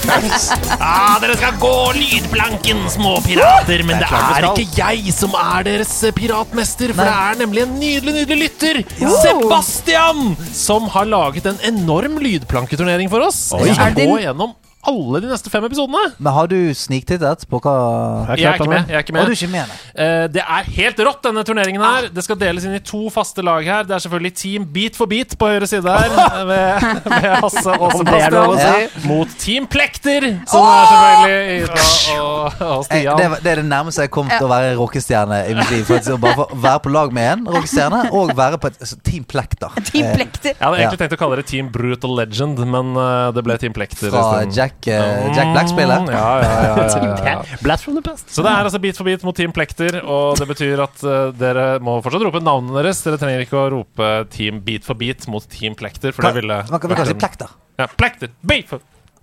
Speaker 1: Ah, dere skal gå lydplanken, små pirater. Men det
Speaker 6: klart
Speaker 1: er
Speaker 6: vi skal.
Speaker 1: ikke jeg som er deres eh, piratmester, for det er nemlig en nydelig, nydelig lytter, Sebastian, som har laget en enorm lydplanketurnering for oss. Vi
Speaker 5: Er
Speaker 1: skal
Speaker 5: det-
Speaker 1: gå gjennom alle de neste fem episodene.
Speaker 2: Men har du sniktittet på hva
Speaker 1: Jeg er ikke med. Jeg er ikke
Speaker 2: Å,
Speaker 1: med.
Speaker 2: du er ikke med, nei.
Speaker 1: Eh, det er helt rått, denne turneringen
Speaker 2: Ah.
Speaker 1: her. Det skal deles inn i to faste lag her. Det er selvfølgelig Team Beat for beat på høyre side her,
Speaker 2: Ah.
Speaker 1: eh, med, med Hasse og
Speaker 6: Om det er lov å
Speaker 1: Sebastian. Mot Team Plekter, som er selvfølgelig Ida og, og
Speaker 2: Jeg, Eh, det,
Speaker 1: Stian.
Speaker 2: var- det er det nærmeste jeg kom til å være rockestjerne i mitt liv. Faktisk, å bare få være på lag med en rockestjerne, og være på et altså, Team Plekter. Eh,
Speaker 5: Team Plekter.
Speaker 1: Jeg hadde egentlig tenkt å kalle det Team Brutal Legend, men eh, det ble Team Plekter.
Speaker 2: Fra
Speaker 1: isteden.
Speaker 2: Jack, eh, Jack Black-spillet.
Speaker 1: Mm, Ja, ja, ja, ja, ja, ja.
Speaker 6: Blast from the past.
Speaker 1: Så det er altså Beat for beat mot Team Plekter, og det betyr at eh, dere må fortsatt rope navnene deres. Dere trenger ikke å rope Team Beat for beat mot Team Plekter, for det ville
Speaker 2: Man kan man kan si
Speaker 1: vært en-
Speaker 2: Plekter.
Speaker 1: Ja, plekter. Beat for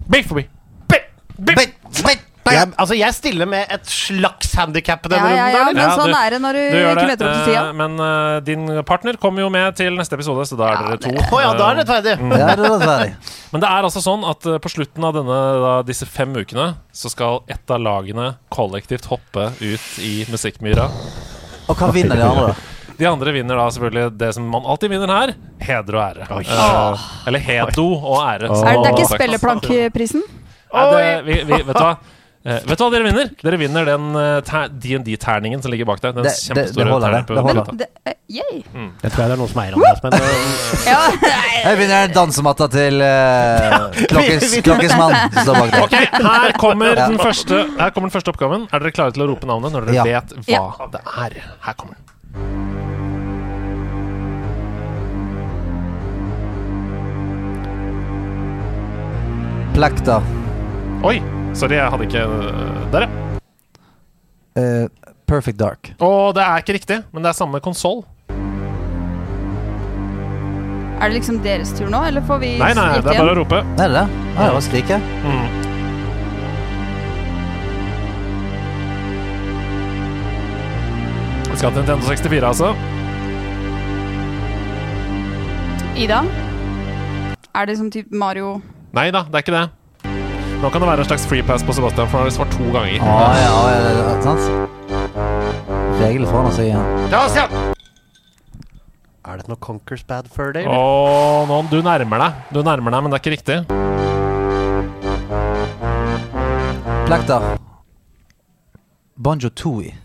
Speaker 1: Beat for beat. Beat, beat.
Speaker 2: Beat, beat,
Speaker 5: Nei.
Speaker 6: Jeg, altså, jeg stiller med et slags handikap
Speaker 5: Ja,
Speaker 6: denne
Speaker 5: ja, ja,
Speaker 6: runden.
Speaker 5: men
Speaker 1: Ja,
Speaker 5: sånn
Speaker 1: du-
Speaker 5: er det når du,
Speaker 1: Du gjør
Speaker 5: ikke
Speaker 1: det.
Speaker 5: møter opp til tida.
Speaker 1: eh, Men eh, din partner kommer jo med til neste episode, så da er dere to. Eh,
Speaker 6: Å ja, da er det rettferdig.
Speaker 2: Ja, det er rettferdig.
Speaker 1: Men det er altså sånn at eh, på slutten av denne, da, disse fem ukene så skal ett av lagene kollektivt hoppe ut i musikkmyra.
Speaker 2: Og hva vinner de andre, da?
Speaker 1: De andre vinner da selvfølgelig det som man alltid vinner her heder og ære. Eh, eller hedo og ære. som
Speaker 5: Er det, det er
Speaker 1: man
Speaker 5: ikke
Speaker 1: sagt.
Speaker 5: spelleplankprisen?
Speaker 1: Nei, det, vi, vi, vet du hva? Eh, vet du hva dere vinner? Dere vinner den eh, ter- D&D-terningen som ligger bak deg. Den
Speaker 2: Det- det- det
Speaker 1: kjempestore
Speaker 2: holder, det.
Speaker 1: terningen på
Speaker 2: Det holder.
Speaker 1: gata.
Speaker 5: Men det, eh, yay!
Speaker 6: Det tror jeg det er noen som eier Andreas, men
Speaker 5: Ja,
Speaker 2: Jeg vinner dansematta til uh, klokkes, klokkesmann som står bak
Speaker 1: Ok,
Speaker 2: der.
Speaker 1: her kommer,
Speaker 2: Ja.
Speaker 1: den første, her kommer den første oppgaven. Er dere klare til å rope navnet når dere
Speaker 2: Ja.
Speaker 1: vet hva
Speaker 5: Ja.
Speaker 1: det er? Her kommer den.
Speaker 2: Plekta.
Speaker 1: Oi! Sorry, jeg hadde ikke øh, Der, ja.
Speaker 2: Eh, perfect Dark.
Speaker 1: Og det er ikke riktig, men det er samme konsoll.
Speaker 5: Er det liksom deres tur nå, eller får vi
Speaker 1: Nei, nei, det er bare å rope.
Speaker 2: Er det det? Ah, det var skrike.
Speaker 1: Mm. Vi skal til Nintendo 64, altså.
Speaker 5: Ida? Er det sånn type Mario
Speaker 1: Nei da, det er ikke det. Nå kan det være en slags free pass på Sebastian, for han har svart to ganger.
Speaker 2: Å Ah, ja, å, ja, det er sant? Reglene forandrer seg igjen.
Speaker 6: Er det noe Conquers Bad Fur Day? eller?
Speaker 1: Åh, nå, du nærmer deg, Du nærmer deg, men det er ikke riktig.
Speaker 2: Plekta. Banjo Tooie.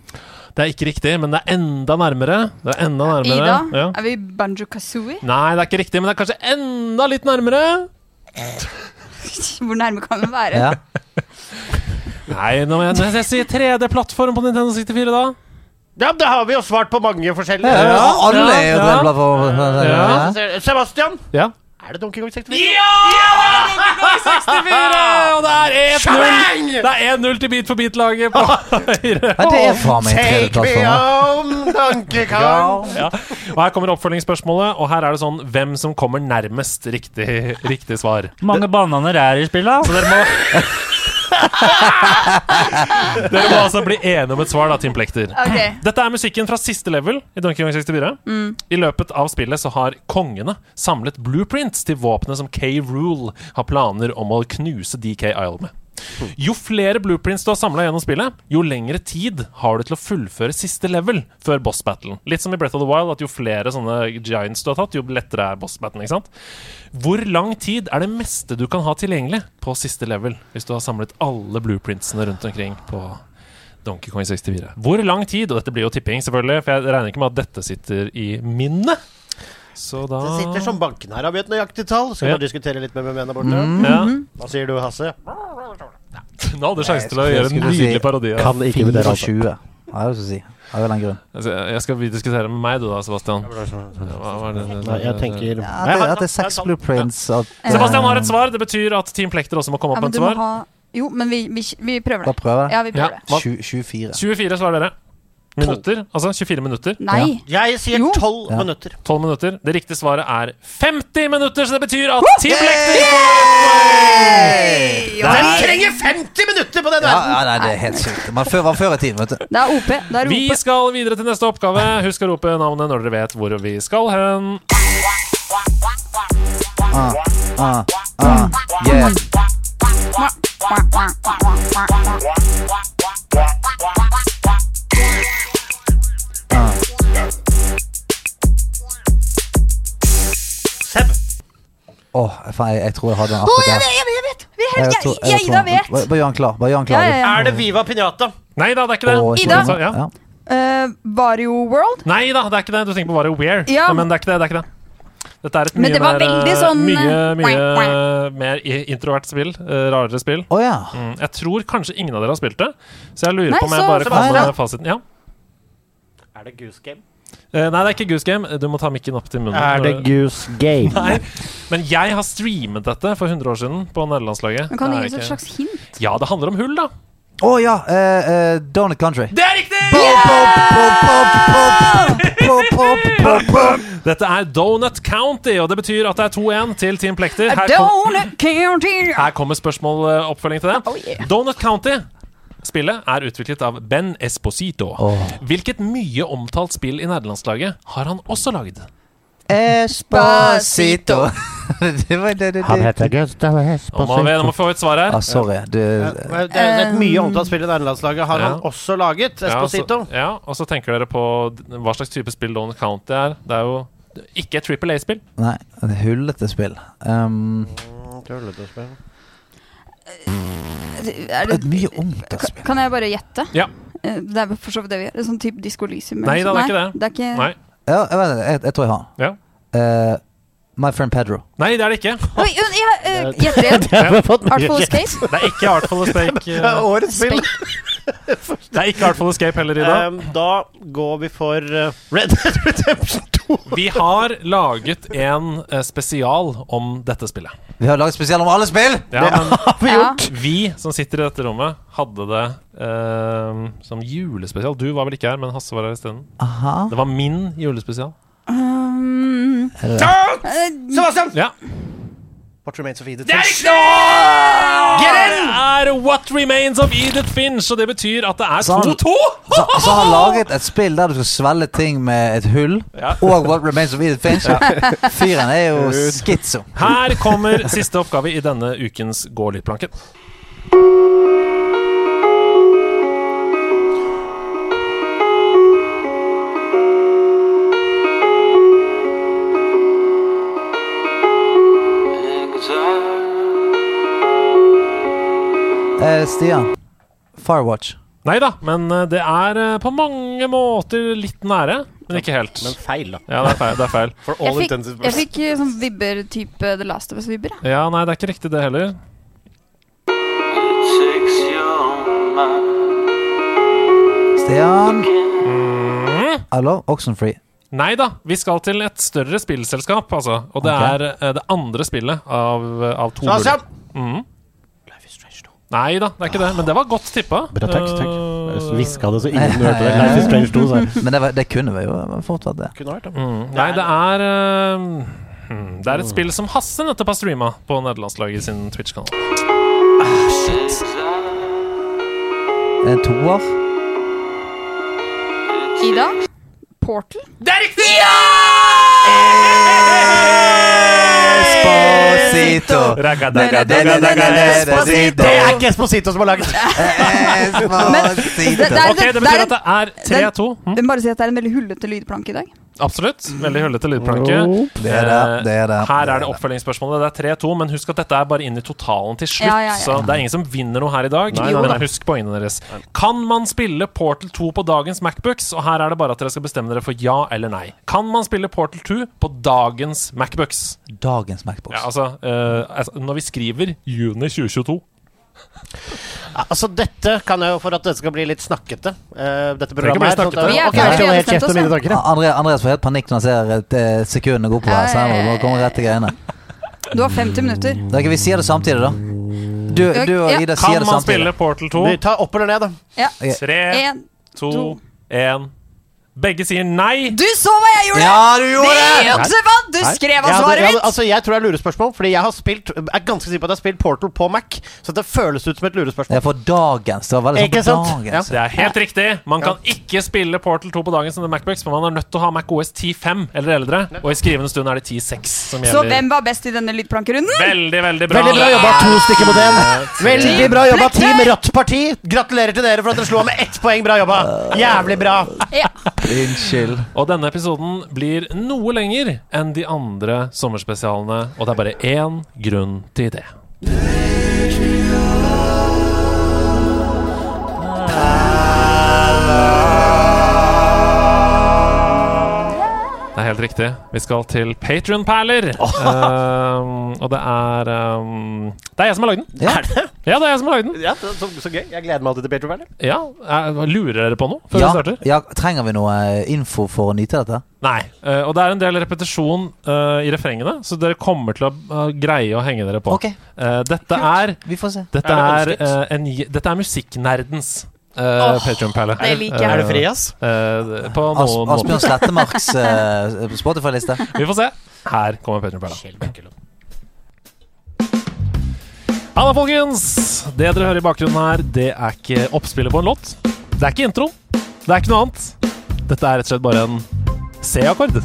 Speaker 1: Det er ikke riktig, men det er enda nærmere. Det er enda nærmere.
Speaker 5: Ida?
Speaker 1: Ja.
Speaker 5: Er vi Banjo Kazooie?
Speaker 1: Nei, det er ikke riktig, men det er kanskje enda litt nærmere.
Speaker 5: Hvor nærme kan vi være?
Speaker 2: Ja.
Speaker 1: Nei, når jeg, når jeg sier 3D-plattform på Nintendo 64, da
Speaker 6: Ja, det har vi jo svart på mange forskjellige.
Speaker 2: Ja, alle er jo
Speaker 1: ja.
Speaker 2: dribla for
Speaker 1: Ja.
Speaker 6: Sebastian,
Speaker 1: Ja.
Speaker 6: er det Donkey Kong 64?
Speaker 1: Og det er 1-0 Det er 1-0 til Beat for Beat-laget på Høyre.
Speaker 2: Nei, det er faen meg en
Speaker 6: Take me
Speaker 2: 3D-plattform.
Speaker 6: home, Donkey Kong.
Speaker 1: Ja. Og her kommer oppfølgingsspørsmålet, og her er det sånn hvem som kommer nærmest riktig, riktig svar.
Speaker 7: mange bananer er i spillet? altså.
Speaker 1: Så dere må Dere må altså bli enige om et svar, da, Team Plekter.
Speaker 5: Ok.
Speaker 1: Dette er musikken fra siste level i Donkey Kong 64. I løpet av spillet så har kongene samlet blueprints til våpenet som Cave Rule har planer om å knuse DK Isle med. Jo flere blueprints du har samla gjennom spillet, jo lengre tid har du til å fullføre siste level før boss battlen. Litt som i Breath of the Wild, at jo flere sånne giants du har tatt, jo lettere er boss battlen. ikke sant? Hvor lang tid er det meste du kan ha tilgjengelig på siste level, hvis du har samlet alle blueprintsene rundt omkring på Donkey Kong 64? Hvor lang tid, og dette blir jo tipping selvfølgelig, for jeg regner ikke med at dette sitter i minnet. Så da
Speaker 6: Det sitter som banken her har vi et nøyaktig tall. Skal vi
Speaker 1: Ja.
Speaker 6: bare diskutere litt med mennene borte?
Speaker 1: ja.
Speaker 5: Mhm.
Speaker 6: Hva sier du, Hasse?
Speaker 1: Nå hadde jeg sjanse til å
Speaker 2: Jeg
Speaker 1: gjøre en
Speaker 2: skulle si-
Speaker 1: nydelig parodi. av-
Speaker 6: ikke
Speaker 2: 24. Ja, det er jo så å si. Av en eller annen grunn.
Speaker 1: Altså, Jeg skal vi diskutere med meg, du da, Sebastian. Hva var det?
Speaker 6: Nei, jeg tenker
Speaker 2: Ja, at, det, at det er seks blueprints at, eh,
Speaker 1: Sebastian har et svar. Det betyr at Team Plekter også må komme
Speaker 5: Ja,
Speaker 1: opp
Speaker 5: men
Speaker 1: med
Speaker 5: du
Speaker 1: et
Speaker 5: må
Speaker 1: svar.
Speaker 5: ha Jo, men vi, vi, vi prøver
Speaker 2: Da
Speaker 5: det.
Speaker 2: prøver jeg.
Speaker 5: Ja, vi prøver
Speaker 1: Ja.
Speaker 5: det.
Speaker 1: Hva-
Speaker 2: Tju- 24.
Speaker 1: 24 svarer dere. Minutter. Altså 24 minutter.
Speaker 5: Nei.
Speaker 6: Jeg sier
Speaker 5: Jo.
Speaker 6: tolv
Speaker 2: Ja.
Speaker 6: minutter.
Speaker 1: 12 minutter. Det riktige svaret er 50 minutter, så det betyr at Team Plekter
Speaker 5: Ja.
Speaker 6: Den trenger 50 minutter på den
Speaker 2: Ja,
Speaker 6: verden!
Speaker 2: ja, nei, det er helt sykt. Man før, var før i tiden, vet du.
Speaker 5: Det er OP. Det er
Speaker 1: Vi
Speaker 5: OP.
Speaker 1: skal videre til neste oppgave. Husk å rope navnet når dere vet hvor vi skal hen.
Speaker 2: Ah, ah, yeah.
Speaker 6: Seb.
Speaker 2: Åh, faen, jeg, jeg tror jeg hadde den akkurat der.
Speaker 5: Jeg jeg vet! Vi er
Speaker 2: Jeg
Speaker 5: helt-
Speaker 2: tror-
Speaker 5: jeg- jeg-
Speaker 2: tror
Speaker 5: Ida
Speaker 2: han-
Speaker 5: vet!
Speaker 2: Bare, bare gjør han klar. Bare gjør han klar.
Speaker 5: Ja, ja, ja.
Speaker 6: Er det Viva Pinata?
Speaker 1: Nei da, det er ikke det.
Speaker 2: Åh, jeg tror
Speaker 5: Ida?
Speaker 2: det var-
Speaker 1: Ja.
Speaker 2: ja.
Speaker 5: Eh, Vario World?
Speaker 1: Nei da, det er ikke det. Du tenker på Vario Wear.
Speaker 5: Ja.
Speaker 1: Men det er ikke det. det er ikke det. Dette er et
Speaker 5: Men
Speaker 1: mye,
Speaker 5: det var
Speaker 1: mer,
Speaker 5: veldig sånn,
Speaker 1: mye,
Speaker 5: eh,
Speaker 1: mye
Speaker 5: quack, quack.
Speaker 1: mer i- introvert spill. eh, Rarere spill.
Speaker 2: Å ja.
Speaker 1: Mm, Jeg tror kanskje ingen av dere har spilt det, så jeg lurer
Speaker 5: Nei,
Speaker 1: på om jeg
Speaker 5: så-
Speaker 1: bare
Speaker 5: så
Speaker 1: kan
Speaker 2: bra.
Speaker 1: med fasiten. Ja.
Speaker 6: Er det Goose Game?
Speaker 1: Eh, Nei, det er ikke Goose Game. Du må ta mikken opp til munnen.
Speaker 6: Goose Game?
Speaker 1: Nei. Men jeg har streamet dette for 100 år siden på nederlandslaget.
Speaker 5: Men kan du
Speaker 1: Det
Speaker 5: gi
Speaker 1: er
Speaker 5: oss
Speaker 1: ikke-
Speaker 5: et slags hint?
Speaker 1: Ja, det handler om hull, da.
Speaker 2: Å ja. eh, eh, Donut Country.
Speaker 1: Det er riktig!
Speaker 2: Pop, pop, pop, pop, pop, pop, pop, pop.
Speaker 1: Dette er Donut County, og det betyr at det er 2-1 til Team Plekter. Her, kom,
Speaker 5: Don't count here.
Speaker 1: her kommer spørsmål eh, oppfølging til det.
Speaker 5: Oh, yeah.
Speaker 1: Donut County Spillet er utviklet av Ben Esposito.
Speaker 2: Åh.
Speaker 1: Hvilket mye omtalt spill i nederlandslaget har han også lagd?
Speaker 2: Espacito. det var det, det,
Speaker 7: Han
Speaker 2: det.
Speaker 7: heter Gustav
Speaker 1: Nå må vi nå må vi få et svar her.
Speaker 2: Ah, sorry. Du,
Speaker 6: Det er- det er et mye omtalt spill i nederlandslaget. Har
Speaker 1: Ja.
Speaker 6: han også laget Esposito?
Speaker 1: Ja, altså- så, ja, og så tenker dere på d- hva slags type spill Lone County er. Det er jo ikke et Triple A-spill.
Speaker 2: nei, det er hullete spill. Um,
Speaker 1: Mm,
Speaker 5: Er
Speaker 2: det
Speaker 5: det,
Speaker 2: er mye omtalt spill.
Speaker 5: kan jeg bare gjette?
Speaker 1: Ja.
Speaker 5: Eh, Det er vel for så vidt det vi gjør. Sånn type Disko Elysium.
Speaker 1: Nei, det er ikke det.
Speaker 5: det er ikke
Speaker 1: Nei.
Speaker 2: Ja, jeg, vet det, jeg, jeg tror jeg har den.
Speaker 1: Ja.
Speaker 2: Eh, My friend Pedro.
Speaker 1: Nei, det er det ikke.
Speaker 5: Oi, jeg eh, gjetter igjen. Artful Escape.
Speaker 1: Det er ikke Artful Escape. eh,
Speaker 6: Årets spill.
Speaker 1: Det er ikke Artful Escape heller, Ida.
Speaker 6: Um, da går vi for uh, Red Dead Redemption 2.
Speaker 1: Vi har laget en eh, spesial om dette spillet.
Speaker 2: Vi har laget spesial om alle spill!
Speaker 1: Ja, men
Speaker 5: Ja.
Speaker 1: vi som sitter i dette rommet, hadde det eh, som julespesial. Du var vel ikke her, men Hasse var her isteden.
Speaker 2: Aha.
Speaker 1: Det var min julespesial.
Speaker 5: Um, eh,
Speaker 1: Ja.
Speaker 6: What remains of Edith
Speaker 1: Det er
Speaker 6: Finch.
Speaker 1: ikke Det er What Remains of Edith Finch, og det betyr at det er
Speaker 2: Sånn.
Speaker 1: 2-2!
Speaker 2: Så, så han laget et spill der du skal svelge ting med et hull,
Speaker 1: Ja.
Speaker 2: og What Remains of Edith Finch. Fyren er jo schizo.
Speaker 1: Her kommer siste oppgave i denne ukens Gå litt-planken.
Speaker 2: Eh, Stian. Firewatch.
Speaker 1: Nei da, men eh, det er eh, på mange måter litt nære, men ikke helt.
Speaker 6: Men feil, da.
Speaker 1: Ja, det er feil. Det er feil.
Speaker 6: For
Speaker 5: jeg
Speaker 6: all
Speaker 5: fikk,
Speaker 6: intensive
Speaker 5: jeg fikk eh, sånn vibber-type The Last of Us-vibber. jeg.
Speaker 1: Ja, nei, det er ikke riktig det heller.
Speaker 2: Stian. Hallo? Oxenfree.
Speaker 1: Mm, Nei da, vi skal til et større spillselskap, altså. Og det
Speaker 2: Ok.
Speaker 1: er eh, det andre spillet av, eh, av to
Speaker 6: Så, Sam,
Speaker 1: Mm. Life is Strange 2. Nei da, det er ikke det. Men det var godt tippa.
Speaker 7: Bra, takk, takk.
Speaker 1: Eh,
Speaker 7: Hviska det så ingen hørte det. Life is Strange 2, sa jeg.
Speaker 2: Men det, var, det kunne vi jo fort vært det.
Speaker 6: Kunne vært, da.
Speaker 1: Mm. Nei, det er eh, hmm, Det er et spill som Hasse nettopp har streama på nederlandslaget sin Twitch-kanal.
Speaker 2: Det er En toer.
Speaker 5: Ida? Portal?
Speaker 2: Esposito. Esposito.
Speaker 6: Det er ikke Esposito som har laget det! altså,
Speaker 5: Det, det
Speaker 2: Esposito.
Speaker 5: er,
Speaker 1: Ok, det
Speaker 5: det
Speaker 1: betyr
Speaker 5: er,
Speaker 1: at det er 3-2. Mm.
Speaker 5: jeg må bare si at det er en veldig hullete lydplanke i dag.
Speaker 1: Absolutt. Veldig hullete lydplanke.
Speaker 2: Det er det, det er det.
Speaker 1: Eh, Her er det oppfølgingsspørsmålet. Det er 3-2, men husk at dette er bare inn i totalen til slutt.
Speaker 5: Ja, ja, ja.
Speaker 1: Så det er ingen som vinner noe her i dag.
Speaker 6: Nei, nei,
Speaker 1: men
Speaker 6: nei.
Speaker 1: husk poengene deres. Kan man spille Portal 2 på dagens Macbooks? Og her er det bare at dere skal bestemme dere for ja eller nei. Kan man spille Portal 2 på dagens Macbooks?
Speaker 2: Dagens Macbox.
Speaker 1: Ja, altså, eh, altså Når vi skriver juni 2022
Speaker 6: Altså, dette kan jeg jo for at dette skal bli litt snakkete. eh, dette
Speaker 1: Trenger ikke bli
Speaker 6: programmet her.
Speaker 1: snakkete.
Speaker 5: Vi er
Speaker 6: Ok,
Speaker 5: ferdig,
Speaker 6: jeg skal
Speaker 5: vi har
Speaker 6: helt
Speaker 5: bestemt
Speaker 6: kjeft om
Speaker 5: oss,
Speaker 6: mine tanker, jeg.
Speaker 2: André, Andreas får helt panikk når han ser et, eh, sekundene gå på her. Så her må vi bare komme rett til greiene.
Speaker 5: Du har 50 minutter.
Speaker 2: Da kan vi si det samtidig, da. Du, du og
Speaker 5: Ja.
Speaker 2: Ida sier
Speaker 1: Kan
Speaker 2: det
Speaker 1: man
Speaker 2: samtidig.
Speaker 1: spille Portal 2?
Speaker 6: Vi tar opp eller ned, da.
Speaker 5: Ja.
Speaker 1: Tre,
Speaker 5: En.
Speaker 1: to,
Speaker 5: to.
Speaker 1: én Begge sier nei.
Speaker 5: Du så hva jeg gjorde!
Speaker 2: Ja, du
Speaker 5: Det
Speaker 2: gjorde
Speaker 5: er
Speaker 2: det!
Speaker 5: jo ikke så vant! Du skrev av
Speaker 6: Jeg, hadde,
Speaker 5: svaret
Speaker 6: jeg, hadde,
Speaker 5: mitt!
Speaker 6: altså, jeg tror det er lurespørsmål, fordi jeg har spilt Jeg er ganske sikker på at jeg har spilt Portal på Mac, så det føles ut som et lurespørsmål.
Speaker 2: Ja, for dagens. Det var veldig sånn
Speaker 6: Ikke
Speaker 2: på
Speaker 6: sant?
Speaker 2: dagens.
Speaker 1: Det er helt riktig. Man kan ikke spille Portal 2 på dagens Macbooks, men man er nødt til å ha MacOS 10.5 eller eldre. Og i skrivende stund er det 10.6 som
Speaker 5: Så
Speaker 1: gjelder.
Speaker 5: hvem var best i denne lydplankerunden?
Speaker 1: Veldig, veldig bra.
Speaker 6: Veldig bra jobba, to stykker mot én. Eh,
Speaker 1: Eh,
Speaker 6: Veldig bra jobba, Team Rødt Parti. Gratulerer til dere for at dere slo av med ett poeng. Bra jobba. Jævlig bra.
Speaker 5: Ja.
Speaker 2: Unnskyld.
Speaker 1: Og denne episoden blir noe lenger enn de andre sommerspesialene, og det er bare én grunn til det. Det er helt riktig. Vi skal til Patrion-perler. Um, og det er um, Det er jeg som har lagd den.
Speaker 2: Ja.
Speaker 1: Ja, det er jeg som har lagd den.
Speaker 6: Ja, så, så, så gøy. Jeg gleder meg alltid til Peter Werner.
Speaker 1: Ja, jeg Lurer dere på noe før
Speaker 2: Ja,
Speaker 1: vi starter?
Speaker 2: ja, trenger vi noe eh, info for å nyte dette?
Speaker 1: Nei. eh, og det er en del repetisjon eh, i refrengene, så dere kommer til å eh, greie å henge dere på.
Speaker 2: Ok,
Speaker 1: Eh, dette er,
Speaker 2: vi får se.
Speaker 1: dette
Speaker 6: Er
Speaker 1: er,
Speaker 6: det
Speaker 1: eh, en, dette er musikknerdens uh, Patreon-perle.
Speaker 5: det liker jeg.
Speaker 1: Eh,
Speaker 6: Er du fri, ass?
Speaker 1: eh, på
Speaker 2: As
Speaker 1: noen måter.
Speaker 2: Asbjørn Slettemarks eh, Spotify-liste.
Speaker 1: Vi får se. Her kommer Patreon-perla. Ja da, folkens. Det dere hører i bakgrunnen her, det er ikke oppspillet på en låt. Det er ikke introen. Det er ikke noe annet. Dette er rett og slett bare en C-akkord.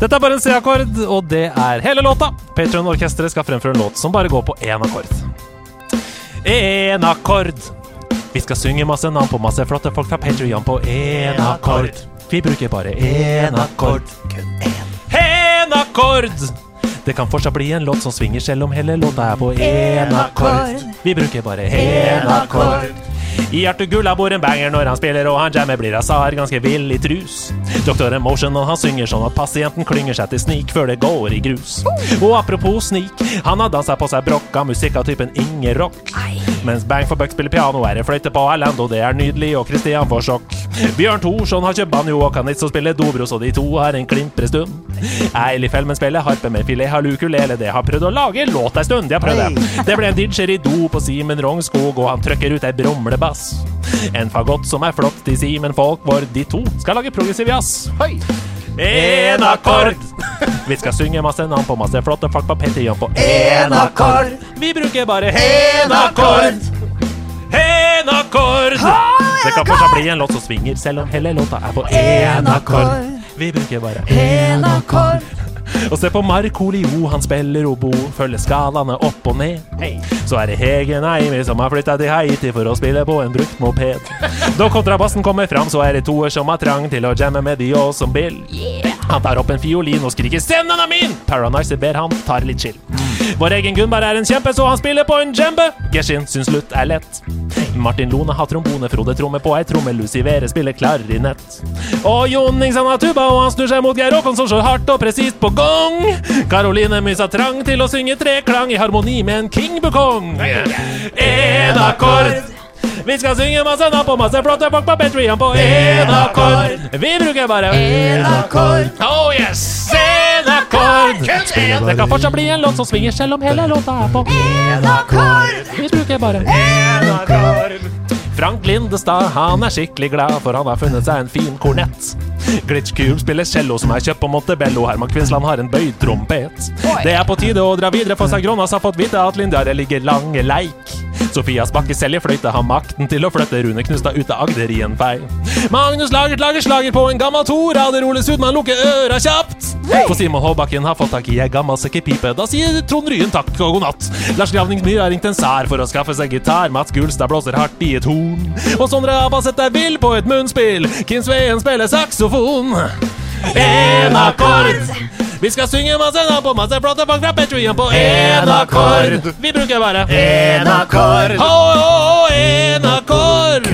Speaker 1: Dette er bare en C-akkord, og det er hele låta. Patrion-orkesteret skal fremføre en låt som bare går på én akkord. Én akkord. Vi skal synge masse navn på masse flotte folk fra Patrion på én akkord. Vi bruker bare én akkord. Kun én. Én akkord! Det kan fortsatt bli en låt som svinger selv om hele låta er på én akkord. Vi bruker bare én akkord. I Arthur Gulla bor en banger når han spiller, og han jammer blir Azar ganske vill i trus. Doktor Emotion, og han synger sånn at pasienten klynger seg til snik før det går i grus. Og apropos snik, han har dansa på seg brokka musikk av typen Inger Rock. Mens Bang for Buck spiller piano, er det fløyte på Erlend, og det er nydelig, og Christian får sjokk. Bjørn Thorsson har kjøpt banjo og kan ikke spille dobro, så de to har en klimpre stund. Eilif Helmen spiller harpe med filet har ukulele, det har prøvd å lage låt ei stund, de har prøvd det. Det ble en didgeridoo på Simen Rognskog, og han trøkker ut ei bromlebass. En fagott som er flott til Simen Folk, hvor de to skal lage progressiv jazz. Hei! En akkord! Vi skal synge masse navn på masse flotte folk på Patreon på en akkord. Vi bruker bare en akkord. En akkord! Det kan fortsatt bli en låt som svinger, selv om hele låta er på en akkord. Vi bruker bare en akkord. Og se på Marco Lio, han spiller obo, følger skalaene opp og ned. Så er det Hegen Eimi som har flytta til Haiti for å spille på en brukt moped. Når kontrabassen kommer fram, så er det toer som har trang til å jamme med de og som Bill. Han tar opp en fiolin og skriker 'Scenen er min!' Paradise ber han tar litt chill. Vår egen Gunberg er en kjempe, så han spiller på en djembe. Geshin syns slutt er lett. Martin Lone har trombone, Frode tromme på ei tromme, Lucy Vere spiller klarinett. Og Jon Ningsen har tuba, og han snur seg mot Geir Håkon, som slår hardt og presist på gong. Karoline Mysa trang til å synge treklang i harmoni med en King Bukong. En akkord. Vi skal synge masse navn på masse flotte folk på Patreon på en akkord. Vi bruker bare en akkord. Oh yes! En akkord. Det kan fortsatt bli en låt som svinger selv om hele låta er på en akkord. Vi bruker bare en akkord. Frank Lindestad han er skikkelig glad, for han har funnet seg en fin kornett. Glitch Cube spiller cello, som er kjøpt på Montebello. Herman Kvinsland har en bøyd trompet. Det er på tide å dra videre, for Sagronas har fått vite at Lindare ligger lange leik. Sofias Bakke selger fløyte, har makten til å flytte Rune Knustad ut av Agder i en fei. Magnus Lagert lager slager på en gammel torader, Ole Sudman lukker øra kjapt. For Simon Håbakken har fått tak i ei gammel sekkepipe. Da sier Trond Ryen takk og god natt. Lars Gravningsmyr har ringt en sær for å skaffe seg gitar. Mats Gulstad blåser hardt i et horn. Og Sondre Abaseth er vill på et munnspill. Kim Sveen spiller saksofon. En akkord! Vi skal synge masse navn på masse flotte folk fra Patreon på en akkord. Vi bruker bare en akkord. Å, å, å, en akkord.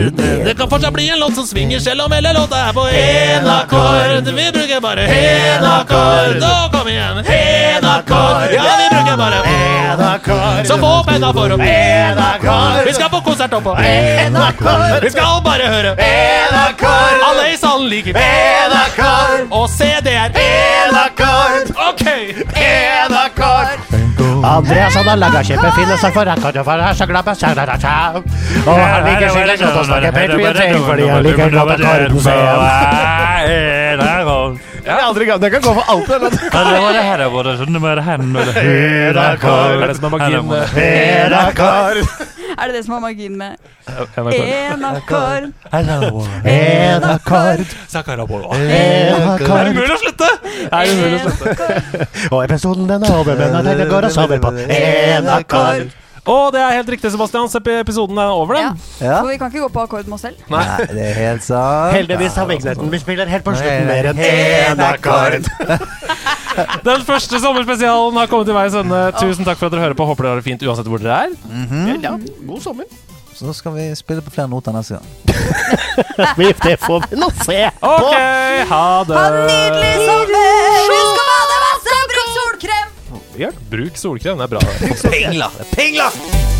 Speaker 1: Det kan fortsatt bli en låt som svinger selv om hele låta er på en akkord. Vi bruker bare en akkord. Å, kom igjen. En akkord. Ja, vi bruker bare en akkord. Så få penna for opp. En akkord. Vi skal på konsert oppå. En akkord. Vi skal bare høre. En akkord. Alle i salen liker en akkord. Og se, det er en akkord. OK. En akkord.
Speaker 6: Andreas han har laga kjempefine sanger, han kan jo være så glad med sanger, og han liker sikkert godt å snakke Patreon fordi han liker godt å kåre seg. Det kan gå for alt. eller?
Speaker 1: Det er det som er magien.
Speaker 5: Er det det som har magien med én akkord?
Speaker 6: En akkord, en
Speaker 1: Er det
Speaker 6: akkord.
Speaker 1: mulig å slutte? Er det mulig å slutte?
Speaker 6: Og episoden den er over, men den går og sover på en akkord.
Speaker 1: Og det er helt riktig, Sebastian. Se på episoden er over,
Speaker 5: Ja.
Speaker 1: den.
Speaker 2: Ja.
Speaker 5: For vi kan ikke gå på akkord med oss selv.
Speaker 2: Nei, det er helt sant.
Speaker 6: Heldigvis har vignetten vi spiller helt på slutten
Speaker 2: Nei,
Speaker 6: mer enn en akkord.
Speaker 1: Den første sommerspesialen har kommet i veis ende. Tusen takk for at dere hører på. Håper dere har det fint uansett hvor dere er.
Speaker 6: Ja, god sommer.
Speaker 2: Så nå skal vi spille på flere noter neste gang.
Speaker 6: Vi- Det får vi nå se på.
Speaker 1: OK, ha det.
Speaker 5: Nydelig sommer! Husk å bade masse og bruk solkrem!
Speaker 1: Bruk solkrem. Det er bra.
Speaker 2: Pingler! Pingler!